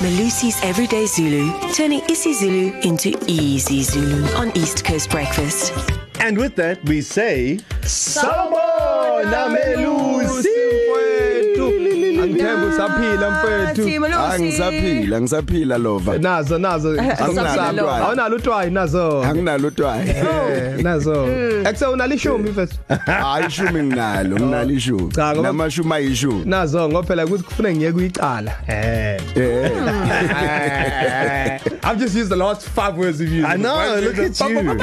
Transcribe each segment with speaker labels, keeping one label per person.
Speaker 1: Malusi's Everyday Zulu, turning isiZulu into easy Zulu on East Coast Breakfast.
Speaker 2: And with that, we say
Speaker 3: Sawubona Melusi
Speaker 2: mfowethu.
Speaker 3: Angithemba usaphila mfethu.
Speaker 4: Siya Melusi.
Speaker 5: Angisaphila, Ah, ngisaphila lova.
Speaker 3: Nazo nazo.
Speaker 5: Anginalo utwayi.
Speaker 3: Awunalo utwayi nazo.
Speaker 5: Anginalo utwaye.
Speaker 3: Eh, nazo. Ekuse unalishumi mfethu.
Speaker 5: Hayi ishumi nginalo, nginalo ishumi.
Speaker 3: Cha, ngoba-
Speaker 5: Namashumi ayishumi.
Speaker 3: Nazo ngoba phela ukuthi kufune ngiye kuyicala. Eh.
Speaker 5: Eh.
Speaker 3: I've just used the last 5 words of you.
Speaker 2: I know, look at you.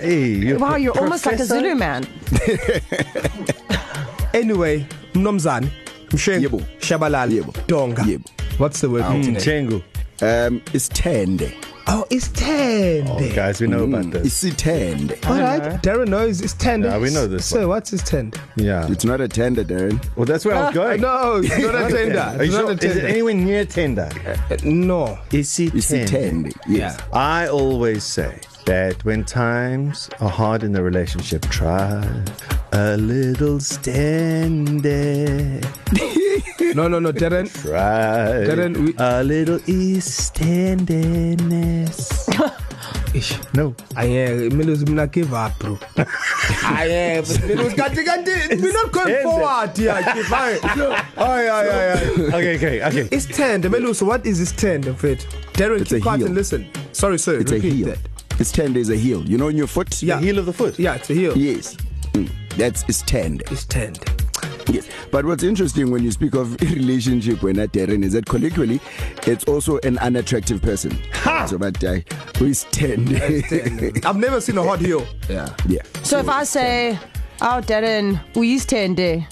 Speaker 2: hey, you
Speaker 4: Wow, you're almost like a Zulu man.
Speaker 3: Anyway, Mnomzane, Mshengu,
Speaker 5: Yebo.
Speaker 3: Shabalala,
Speaker 5: Yebo.
Speaker 3: Donga.
Speaker 5: Yebo.
Speaker 3: What's the word for today?
Speaker 2: Mchengu.
Speaker 5: Um isithende. Mm,
Speaker 3: Oh, it's
Speaker 2: Oh,
Speaker 3: tende.
Speaker 2: guys, we know
Speaker 3: Mm.
Speaker 2: about this.
Speaker 5: Isithende.
Speaker 3: All right, Darren knows it's tende.
Speaker 2: Yeah, we know this
Speaker 3: So
Speaker 2: one.
Speaker 3: what's his tende?
Speaker 2: Yeah.
Speaker 5: It's not a tender, Darren.
Speaker 2: Well, that's where I was going.
Speaker 3: No, it's not a Ah, tender.
Speaker 2: Are you
Speaker 3: It's
Speaker 2: sure? Is
Speaker 3: not a
Speaker 2: it
Speaker 3: tender. Uh,
Speaker 2: anywhere near tender?
Speaker 3: No.
Speaker 2: Is it
Speaker 5: Isithende. Yes.
Speaker 2: I always say that when times are hard in the relationship, try a little standing.
Speaker 3: No, no, no, Darren.
Speaker 2: Try
Speaker 3: Darren, we-
Speaker 2: a little standingness.
Speaker 3: Ish.
Speaker 2: No.
Speaker 3: Aye, Melusi mina give up, bro. Aye, Melusi kanti kanti we not going
Speaker 2: tender.
Speaker 3: forward here. Give up. Aye, aye, aye.
Speaker 2: Okay, okay, okay.
Speaker 3: It's tende, Melusi. What is this tende, Fred? Darren,
Speaker 5: It's
Speaker 3: keep
Speaker 5: a
Speaker 3: quiet
Speaker 5: heel.
Speaker 3: and listen. Sorry, sir.
Speaker 5: It's a
Speaker 3: repeat
Speaker 5: heel.
Speaker 3: that.
Speaker 5: Isithende is a heel. You know on your foot?
Speaker 3: Yeah.
Speaker 2: The heel of the foot.
Speaker 3: Yeah, it's a heel.
Speaker 5: Yes. Mm. That's isithende.
Speaker 3: It's tende.
Speaker 5: Yes. But what's interesting when you speak of relationship when at Darren is that colloquially it's also an unattractive person. Ha! So but uh, who is tender.
Speaker 3: I've never seen a hot heel.
Speaker 5: yeah. Yeah.
Speaker 4: So if I say, "Oh, Darren, we use tende,"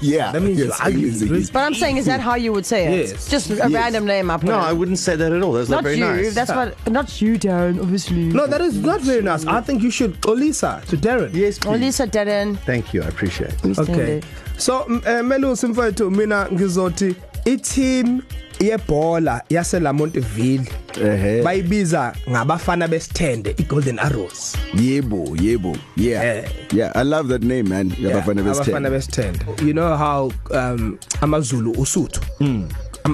Speaker 5: Yeah.
Speaker 3: That means you're ugly,
Speaker 5: yes,
Speaker 3: really.
Speaker 5: yes.
Speaker 4: but I'm saying, is that how you would say it?
Speaker 3: Yes.
Speaker 4: Just a yes. random name up.
Speaker 2: No, I wouldn't say that at all. That's not, not
Speaker 4: not
Speaker 2: very
Speaker 4: you.
Speaker 2: nice.
Speaker 4: That's what. Not you, Darren. Obviously.
Speaker 3: No, that is not very nice. I think you should Olisa to Darren.
Speaker 2: yes, please.
Speaker 4: Olisa Darren.
Speaker 2: Thank you. I appreciate it.
Speaker 3: Okay.
Speaker 4: Tende.
Speaker 3: So m- eh, Melusi mfowethu mina ngizothi i-team yebhola yase Lamontville
Speaker 5: Ehhe.
Speaker 3: bayibiza ngabafana besithende iGolden Arrows.
Speaker 5: Yebo, yebo. Yeah.
Speaker 3: Eh.
Speaker 5: Yeah, I love that name man. Yeah, abafana
Speaker 3: abafana
Speaker 5: besithende.
Speaker 3: besithende. You know how um amaZulu usuthu. Mm.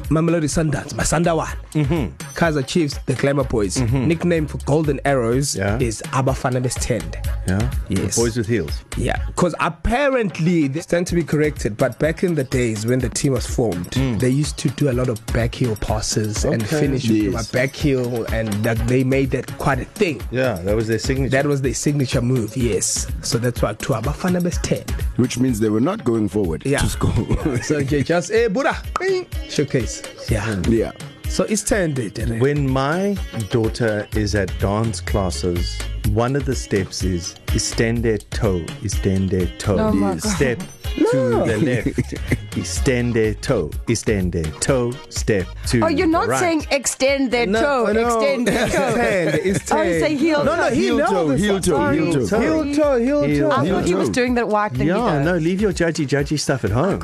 Speaker 3: Mamelodi Sundowns, Masandawana. Mhm. Kaizer Chiefs, the Glamour Boys. Mm-hmm. Nickname for Golden Arrows
Speaker 2: Yeah.
Speaker 3: yeah. is abafana besithende.
Speaker 2: Yeah.
Speaker 3: Yes.
Speaker 2: The boys with heels.
Speaker 3: Yeah, because apparently they stand to be corrected, but back in the days when the team was formed, mm. they used to do a lot of back heel passes okay. and
Speaker 2: Okay.
Speaker 3: finish yes.
Speaker 5: Yes.
Speaker 3: with a back heel, and that they made that quite a thing.
Speaker 2: Yeah, that was their signature.
Speaker 3: That was their signature move, yes. So that's why two abafana best ten.
Speaker 5: Which means they were not going forward
Speaker 3: Yeah.
Speaker 5: to score. Yeah.
Speaker 3: So okay, just hey Buddha, Bing. showcase. Yeah.
Speaker 5: yeah.
Speaker 3: So it's ten day. Darren.
Speaker 2: When my daughter is at dance classes, one of the steps is extend their toe, extend their toe,
Speaker 4: Oh my God.
Speaker 2: step to the left, extend their toe, extend their toe, step to.
Speaker 4: Oh, you're not
Speaker 2: the right.
Speaker 4: right. saying extend their
Speaker 3: No, Oh,
Speaker 4: toe.
Speaker 3: no.
Speaker 4: Extend their
Speaker 3: It's
Speaker 4: toe.
Speaker 3: tender, it's
Speaker 4: Oh, you
Speaker 3: tender.
Speaker 4: say heel
Speaker 3: No, no,
Speaker 4: toe.
Speaker 3: he
Speaker 5: Heel
Speaker 3: knows
Speaker 5: toe,
Speaker 3: this
Speaker 5: heel
Speaker 3: one.
Speaker 5: toe,
Speaker 3: Sorry.
Speaker 5: heel toe.
Speaker 3: heel toe, heel
Speaker 2: Heel
Speaker 3: toe.
Speaker 4: I
Speaker 2: toe.
Speaker 4: thought he was doing that white thing.
Speaker 2: Yeah,
Speaker 4: he
Speaker 2: no,
Speaker 4: does.
Speaker 2: leave your judgy judgy stuff at home.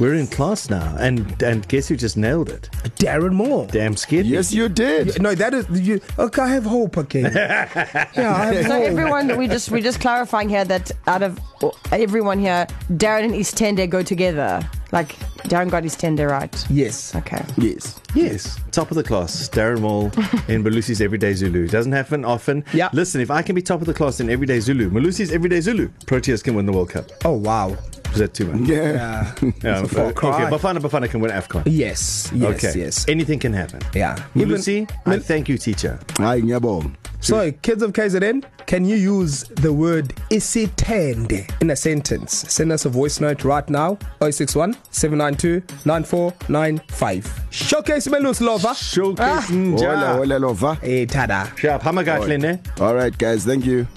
Speaker 2: We're in class now, and and guess who just nailed it?
Speaker 3: Darren Moore.
Speaker 2: Damn scared. me.
Speaker 5: Yes, you did.
Speaker 3: No, that is you. Okay, I have hope again. yeah, I have
Speaker 4: So
Speaker 3: hope.
Speaker 4: everyone, we just we just clarifying here that out of everyone here, Darren and Istende go together. Like Darren got Istende right.
Speaker 3: Yes.
Speaker 4: Okay.
Speaker 5: Yes.
Speaker 2: Yes, top of the class, Darren Mole in Malusi's Everyday Zulu. Doesn't happen often.
Speaker 3: Yeah.
Speaker 2: Listen, if I can be top of the class in Everyday Zulu, Malusi's Everyday Zulu, Proteas can win the World Cup.
Speaker 3: Oh wow.
Speaker 2: Was that too much?
Speaker 5: Yeah.
Speaker 3: Uh,
Speaker 2: Yeah,
Speaker 3: a far
Speaker 2: okay,
Speaker 3: cry.
Speaker 2: Bafana Bafana can win AFCON.
Speaker 3: yes. Yes.
Speaker 2: okay.
Speaker 3: Okay. Yes.
Speaker 2: Anything can happen.
Speaker 3: Yeah.
Speaker 2: Malusi,
Speaker 3: Even-
Speaker 2: I thank you, teacher.
Speaker 5: Hayi ngiyabonga.
Speaker 3: So, kids of KZN, can you use the word isithende in a sentence? Send us a voice note right now 061 792 9495. Showcase Melus Lover.
Speaker 2: Showcase
Speaker 5: Hola,
Speaker 2: Ninja.
Speaker 5: hola lova.
Speaker 3: Hey, tada.
Speaker 2: Sharp, Hamagat Lene.
Speaker 5: All right guys, thank you.